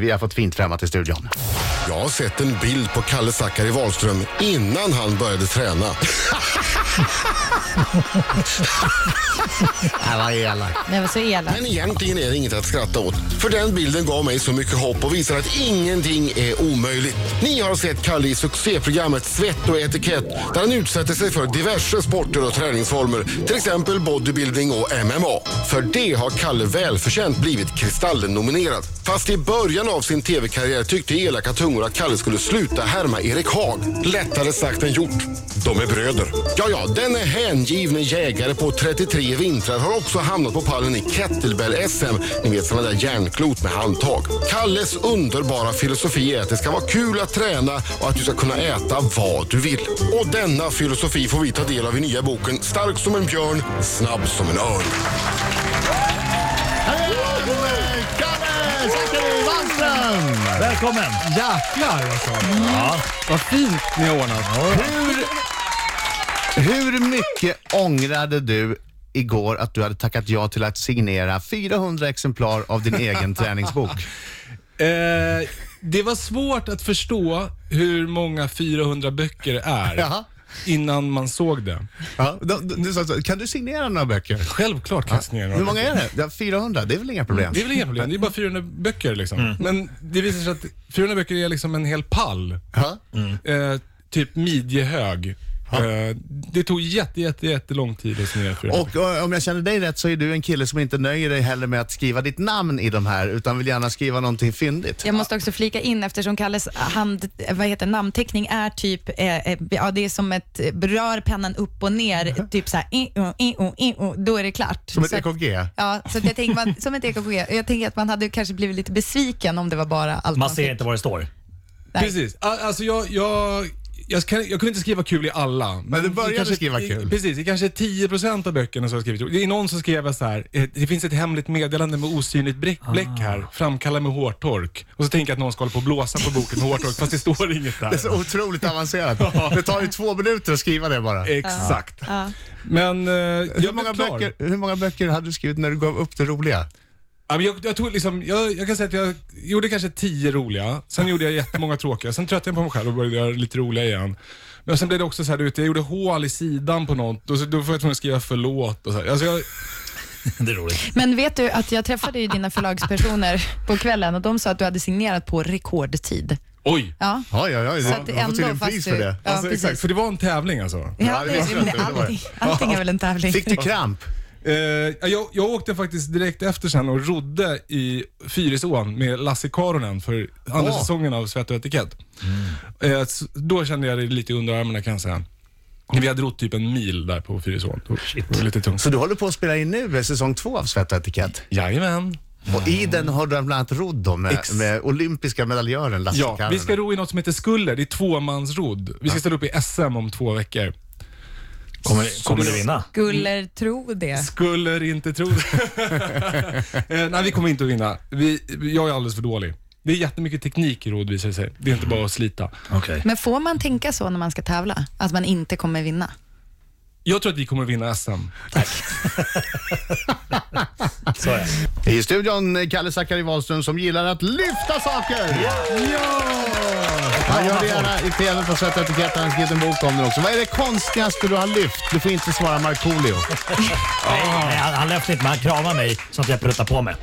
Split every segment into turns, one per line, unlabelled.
Vi har fått fint främmat i studion.
Jag har sett en bild på Kalle Zackari Wahlström innan han började träna.
Äh, vad elak.
Det var så elakt.
Men egentligen är det inget att skratta åt. För den bilden gav mig så mycket hopp och visar att ingenting är omöjligt. Ni har sett Kalle i succéprogrammet Svett och etikett där han utsätter sig för diverse sporter och träningsformer. Till exempel bodybuilding och MMA. För det har Kalle välförtjänt blivit Kristallen-nominerad. Fast i början av sin tv-karriär tyckte elaka tungor att Kalle skulle sluta härma Erik Haag. Lättare sagt än gjort. De är bröder. Ja, ja, denne hängivne jägare på 33 vintrar har också hamnat på pallen i kettlebell-SM. Ni vet sådana där järnklot med handtag. Kalles underbara filosofi är att det ska vara kul att träna och att du ska kunna äta vad du vill. Och denna filosofi får vi ta del av i nya boken Stark som en björn, snabb som en örn.
Kalle Zackari Wahlström!
Välkommen!
Jäklar alltså.
Ja.
Vad fint ni har ordnat.
Hur, hur mycket ångrade du igår att du hade tackat ja till att signera 400 exemplar av din egen träningsbok?
Eh, det var svårt att förstå hur många 400 böcker det är
Jaha.
innan man såg det.
Ja, de- de- du sa så, kan du signera några böcker?
Självklart kan jag signera
Hur
några
många
böcker.
är det? Ja, 400, det är väl inga problem?
Det är väl inga problem. Det är bara 400 böcker liksom. Men det visar sig att 400 böcker är liksom en hel pall.
Ja.
Eh, typ midjehög. Eh, det tog jätte, jätte, jättelång tid att signera 400
Och eh, om jag känner dig rätt så är du en kille som inte nöjer dig heller med att skriva ditt namn i de här, utan vill gärna skriva någonting fyndigt.
Jag måste också flika in eftersom Kalles hand, vad heter, namnteckning är typ, eh, eh, ja, det är som ett, eh, rör pennan upp och ner, typ såhär, då är det klart.
Mhm. Som ett E
Så att-
EKG.
Ja, så att jag tänker man, som ett EKG. Jag tänker att man hade kanske blivit lite besviken om det var bara allt
Man
man
ser
fick.
inte vad det står.
Nej.
Precis. A- Alltså jag, jag, jag, kan, jag kunde inte skriva kul i alla. Men,
du började
i kanske,
skriva kul.
I, precis, i kanske 10% av böckerna så har jag skrivit Det är någon som skrev så här, eh, det finns ett hemligt meddelande med osynligt bläck,
Ah.
bläck här, framkalla med hårtork. Och så tänker jag att någon ska hålla på och blåsa på boken med hårtork, fast det står inget där.
Det är så otroligt avancerat. Det tar ju två minuter att skriva det bara.
Exakt.
Ja.
Men eh,
Hur
jag
många,
blev klar.
böcker, hur många böcker hade du skrivit när du gav upp det roliga?
Ja, men jag, jag, tog liksom, jag, jag kan säga att jag gjorde kanske tio roliga, sen gjorde jag jättemånga tråkiga, sen tröttnade jag på mig själv och började göra lite roliga igen. Men sen blev det också så här, du vet, jag gjorde hål i sidan på något och så, då får jag tvungen att skriva förlåt och så här. Alltså jag,
Det är roligt.
Men vet du att jag träffade ju dina förlagspersoner på kvällen och de sa att du hade signerat på rekordtid.
oj!
Ja,
Oj, oj, oj.
Så att
Man får tydligen
ändå fast
pris
du-
för det.
Ja,
alltså,
precis.
exakt, för det var en tävling alltså.
Ja,
ja
det
det,
visste jag inte,
det,
det var
allting, allting är väl en tävling.
Fick du kramp?
Eh, jag, jag åkte faktiskt direkt efter sen och rodde i Fyrisån med Lasse Karonen för andra
Åh.
säsongen av Svett och etikett.
Mm.
Eh, s- då kände jag det lite under armarna kan jag säga. Vi hade rott typ en mil där på Fyrisån. Det var lite tungt.
Så du håller på att spela in nu eh, säsong två av Svett och etikett?
Jajamän.
Och i den har du bland annat rodd då med,
Ex-
med olympiska medaljören Lasse
Ja, vi
Karvonen.
ska ro i något som heter Skuller. Det är tvåmansrodd. Vi ska ställa upp i SM om två veckor.
Kommer, kommer du vinna?
Skulle tro det.
Skulle inte tro det. eh, nej, vi kommer inte att vinna. Vi, jag är alldeles för dålig. Det är jättemycket teknik i rodd visar det sig. Det är inte bara att slita.
Okej.
Men får man tänka så när man ska tävla? Att man inte kommer vinna?
Jag tror att vi kommer att vinna SM.
Så är det.
I studion eh, Kalle Zackari Wahlström som gillar att lyfta saker. Han gör det gärna i TV på Svett och etikett. Han har skrivit en bok om den också. Vad är det konstigaste du har lyft? Du får inte svara Markoolio.
Nej, han, han lyfte inte, men han kramade mig så att jag pruttade på mig.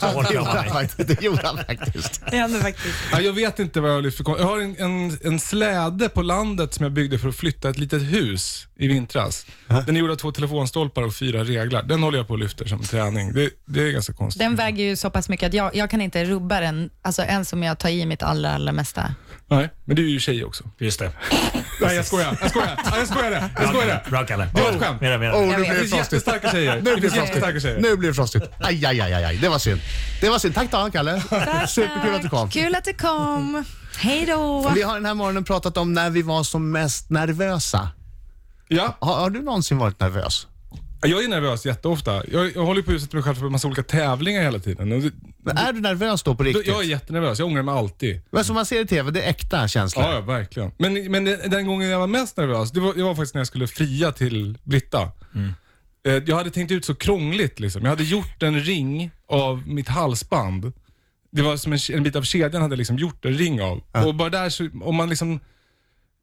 Så hårt
Det gjorde
kramade
han
han mig.
faktiskt. Det gjorde han faktiskt.
Det händer faktiskt.
Ja, jag vet inte vad jag har lyft för kon- Jag har en, en, en släde på landet som jag byggde för att flytta ett litet hus i vintras. Den är gjord av två telefonstolpar och fyra reglar. Den håller jag på och lyfter som träning. Det, det är ganska konstigt.
Den väger ju så pass mycket att jag, jag kan inte rubba den, alltså en som jag tar i mitt allra, allra mesta.
Nej, men du är ju tjej också.
Just det.
Nej, jag skojar. Jag skojar. Ja, Jag skojar det. Jag skojar det.
Bra Kalle.
Det var ett skämt.
Mera, mera.
Oh, nu
Jag
blir
vet.
Det
det
finns
frostigt.
jättestarka tjejer.
Nu
Det
blir
finns
det
jättestarka
frostigt.
tjejer.
Nu blir det frostigt. Aj, aj, aj, aj, aj. Det var synd. Det var synd. Tack då, Kalle. Superkul att du kom.
Kul att du kom. Hej då.
Vi har den här morgonen pratat om när vi var som mest nervösa.
Ja,
Har, har du någonsin varit nervös?
jag är nervös jätteofta. Jag, jag håller på att utsätta mig själv för en massa olika tävlingar hela tiden. Och det-
Men är du nervös då på
då-
riktigt?
Jag är jättenervös. Jag ångrar mig alltid.
Men som man ser i TV, det är äkta känslor.
Ja, ja verkligen. Men, men den gången jag var mest nervös, det var, det var faktiskt när jag skulle fria till Britta. Eh, Jag hade tänkt ut så krångligt. Liksom. Jag hade gjort en ring av mitt halsband det var som en, en bit av kedjan hade jag liksom gjort en ring av. Och bara där så, om man liksom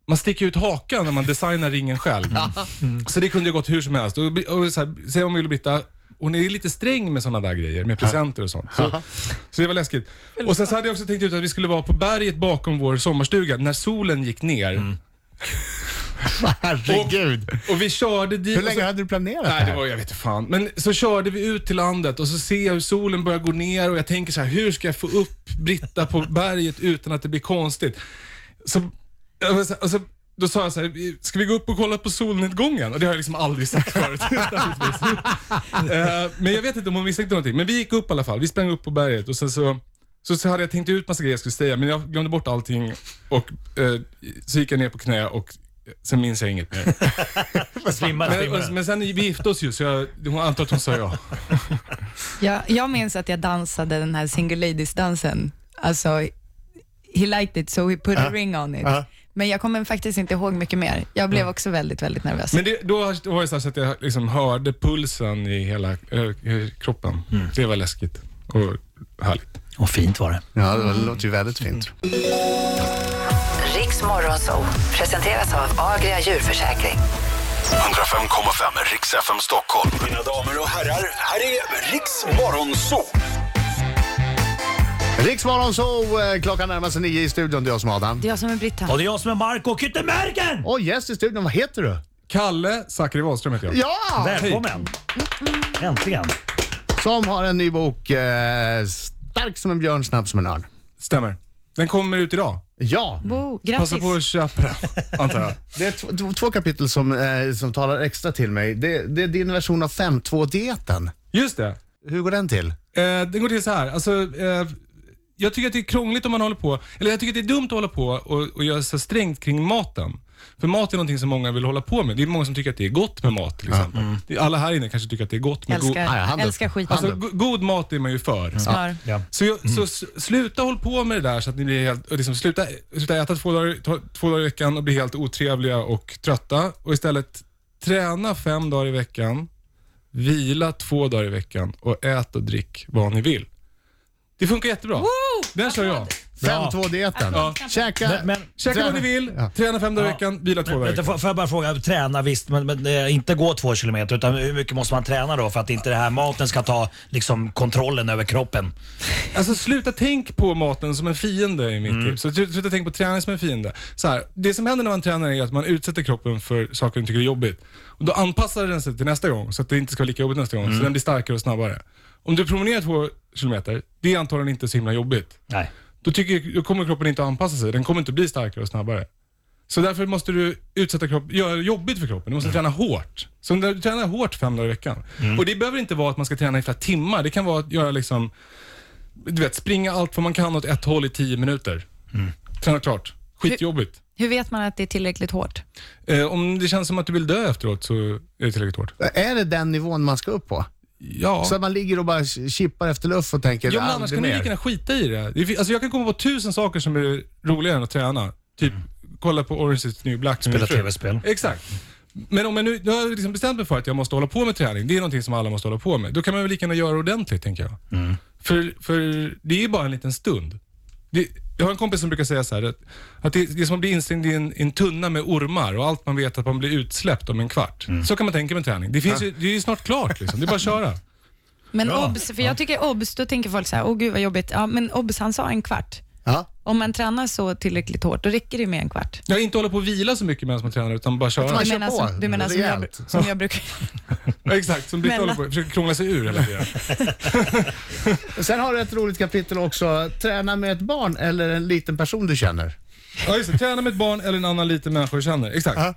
man sticker ut hakan när man designar ringen själv. Så det kunde ju gått hur som helst. Och, och så här, säg om Ulla-Britta, hon är lite sträng med sådana där grejer, med presenter och sånt. Så, så det var läskigt. Och sen så hade jag också tänkt ut att vi skulle vara på berget bakom vår sommarstuga när solen gick ner.
Mm. Herregud.
Och vi körde dit.
Hur
och så-
länge hade du planerat det
Nej,
här?
det var, jag vet inte fan. Men så körde vi ut till landet och så ser jag hur solen börjar gå ner och jag tänker så här, hur ska jag få upp Britta på berget utan att det blir konstigt? Så, jag var så här- och så, då sa jag så här, ska vi gå upp och kolla på solnedgången? Och det har jag liksom aldrig sagt förut. naturligtvis. Eh, men jag vet inte om hon misstänkte någonting. Men vi gick upp i alla fall. Vi sprang upp på berget och sen så, så, så hade jag tänkt ut massa grejer jag skulle säga, men jag glömde bort allting och eh, så gick jag ner på knä och sen minns jag inget mer.
Svimmar,
Men,
svimmar.
men sen vi gifte oss ju, så jag hon antar att hon sa ja.
Jag, jag minns att jag dansade den här single ladies-dansen. Alltså, he liked it so he put
Uh-huh.
a ring on it. Men jag kommer faktiskt inte ihåg mycket mer. Jag
Mm.
blev också väldigt, väldigt nervös.
Men det, då har- då var det så, här så att jag liksom hörde pulsen i hela eh, kroppen. Det var läskigt och härligt.
Och fint var det.
Ja, det låter ju väldigt fint.
Riks Morgonzoo presenteras av Agria djurförsäkring.
105,5 Riks FM Stockholm. Mina damer och herrar, här är Riks Morgonzoo.
Riksmorgon så eh, klockan närmar sig nio i studion. Det är jag som är Adam.
Det är jag som är Britta.
Och det är jag som är Marco Kyttemerken!
Och gäst i studion, vad heter du?
Kalle Zackari Wahlström heter jag.
Ja!
Välkommen!
Typ.
Äntligen!
Som har en ny bok, eh, Stark som en björn, snabb som en örn.
Stämmer. Den kommer ut idag.
Ja,
Bo,
Passa
grattis.
på att köpa den, antar jag.
det är tv- tv- två kapitel som, eh, som talar extra till mig. Det, det är din version av 5.2-dieten.
Just det.
Hur går den till?
Eh, det går till så här. Alltså, eh, jag tycker att det är krångligt om man håller på, eller jag tycker att det är dumt att hålla på och, och göra så strängt kring maten. För mat är någonting som många vill hålla på med. Det är många som tycker att det är gott med mat till exempel. Det- Alla här inne kanske tycker att det är gott med god...
Nej,
Älskar,
handen.
älskar skit.
Handen.
Alltså, go- god mat är man ju för.
Smör.
Ja.
Så, jag,
Mm.
så s- sluta håll på med det där så att ni blir helt, liksom, sluta, sluta äta två dagar, ta- två dagar i veckan och bli helt otrevliga och trötta och istället träna fem dagar i veckan, vila två dagar i veckan och ät och drick vad ni vill. Det funkar jättebra. Den kör jag.
Bra.
5.2-dieten.
Ja.
Käka...
Men, men,
Käka vad ni vill, träna fem dagar i
Ja.
veckan, vila två dagar i
Vänta,
veckan.
får, får jag bara fråga, träna visst, men, men eh, inte gå två kilometer utan hur mycket måste man träna då för att inte det här maten ska ta liksom, kontrollen över kroppen?
Alltså sluta tänk på maten som en fiende i mitt tips. Så slu- Sluta tänk på träning som en fiende. Så här, det som händer när man tränar är att man utsätter kroppen för saker den tycker är jobbigt. Och då anpassar den sig till nästa gång så att det inte ska vara lika jobbigt nästa gång. Så den blir starkare och snabbare. Om du promenerar två kilometer, det är antagligen inte så himla jobbigt.
Nej.
Då, tycker, då kommer kroppen inte att anpassa sig. Den kommer inte bli starkare och snabbare. Så därför måste du utsätta kroppen, göra det jobbigt för kroppen. Du måste träna hårt. Så när du tränar hårt fem dagar i veckan. Och det behöver inte vara att man ska träna i flera timmar. Det kan vara att göra liksom, du vet, springa allt vad man kan åt ett håll i tio minuter. Träna klart. Skitjobbigt.
Hur vet man att det är tillräckligt hårt?
Eh, om det känns som att du vill dö efteråt så är det tillräckligt hårt.
Är det den nivån man ska upp på?
Ja.
Så att man ligger och bara chippar efter luft och tänker
Jo, men
"Aldrig
annars kan du
mer."
lika gärna skita i det. det fin- alltså, jag kan komma på tusen saker som är roligare än att träna. Typ kolla på Orange is the new black. med min
Spela
fru.
tv-spel.
Exakt. Men om jag nu jag har liksom bestämt mig för att jag måste hålla på med träning, det är någonting som alla måste hålla på med. Då kan man väl lika gärna göra det ordentligt, tänker jag. För, för det är ju bara en liten stund. Det, jag har en kompis som brukar säga så här, att, att det, det är som att bli instängd i en, i en tunna med ormar och allt man vet att man blir utsläppt om en kvart. Så kan man tänka med träning. Det, finns ju, det är ju snart klart, liksom. det är bara att köra.
Men obs, för jag tycker obs, då tänker folk så här, åh gud vad jobbigt. Ja, men obs, han sa en kvart.
Ja.
Om man tränar så tillräckligt hårt, då räcker det med en kvart.
Jag inte hålla på och vila så mycket medan man tränar, utan bara köra.
Man
Du
kör
menar,
på,
som, du menar som, jag,
rejält.
som jag brukar...
Ja, Exakt, som Britta
Men-
håller på försöker krångla sig ur hela tiden.
Sen har du ett roligt kapitel också. Träna med ett barn eller en liten person du känner.
Ja, just det. Träna med ett barn eller en annan liten människa du känner. Exakt.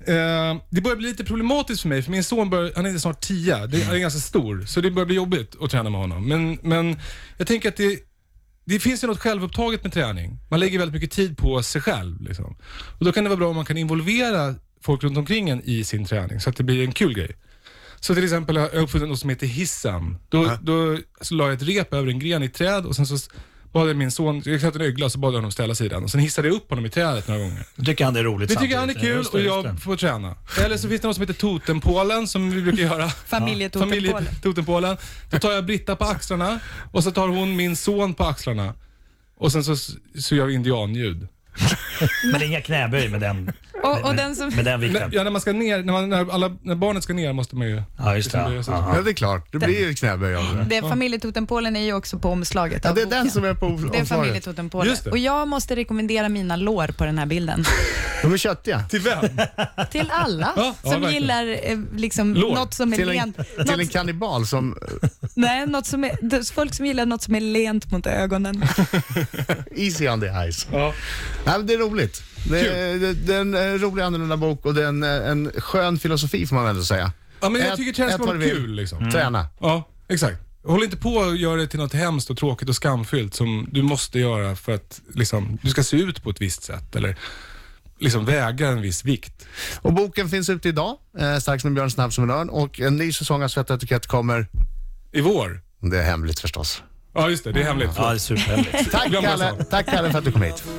Eh, det börjar bli lite problematiskt för mig, för min son bör, han är snart 10. Det, han är ganska stor, så det börjar bli jobbigt att träna med honom. Men, men jag tänker att det, det finns ju något självupptaget med träning. Man lägger väldigt mycket tid på sig själv. Liksom. Och Då kan det vara bra om man kan involvera folk runt omkring en i sin träning, så att det blir en kul grej. Så till exempel har jag uppfunnit något som heter hissam. Då, då så la jag ett rep över en gren i ett träd och sen så s- Då hade min son, jag knöt en ögla så bad jag honom ställa sig i den. Och sen hissade jag upp honom i trädet några gånger.
Då tycker han det är roligt
Det tycker han är
samtidigt.
kul
Just det,
och
just
jag
det.
får träna. Eller så finns det något som heter Totenpålen som vi brukar göra.
Familjetotenpålen.
Totenpålen. Då tar jag Britta på axlarna och så tar hon min son på axlarna. Och sen så, så gör vi indianljud.
Men det är inga knäböj med den,
Och, och den som...
med den
Men,
vikten.
ja, när man ska ner, när, man, när, alla, när barnet ska ner måste man ju...
Ja, just det.
liksom göra så.
Aha.
Ja, det är klart. Det blir ju knäböj av det.
Det familjetotenpålen är ju också på omslaget.
Ja,
av
det är den
boken.
som är på
Det är
omslaget.
familjetotenpålen.
Just det.
Och jag måste rekommendera mina lår på den här bilden.
De är köttiga.
Till vem?
Till alla
Ja, ja,
som
verkligen.
gillar eh, liksom
Lår.
något som är
Till en,
lent.
till en
något,
kannibal som
nej, något som är, det- folk som gillar något som är lent mot ögonen.
eh, Easy on the eyes.
Ja.
Nej, men det är roligt. Det är, det, det är en eh, rolig annorlunda bok och det är en, eh, en skön filosofi får man ändå säga.
Ja, men jag
Ät-
tycker träning
ät
ska
vad
vara
du vill.
kul liksom.
Träna.
Ja, exakt. Håll inte på och gör det till något hemskt och tråkigt och skamfyllt som du måste göra för att liksom, du ska se ut på ett visst sätt eller liksom väga en viss vikt.
Och boken finns ute idag, eh, strax med Björn Snabb som en örn och en ny säsong av Svett och etikett kommer.
I vår.
Det är hemligt förstås.
Ja, just det. Det är hemligt.
Ja, det är superhemligt.
Tack
Glömmer jag
Kalle, tack Kalle för att du kom hit.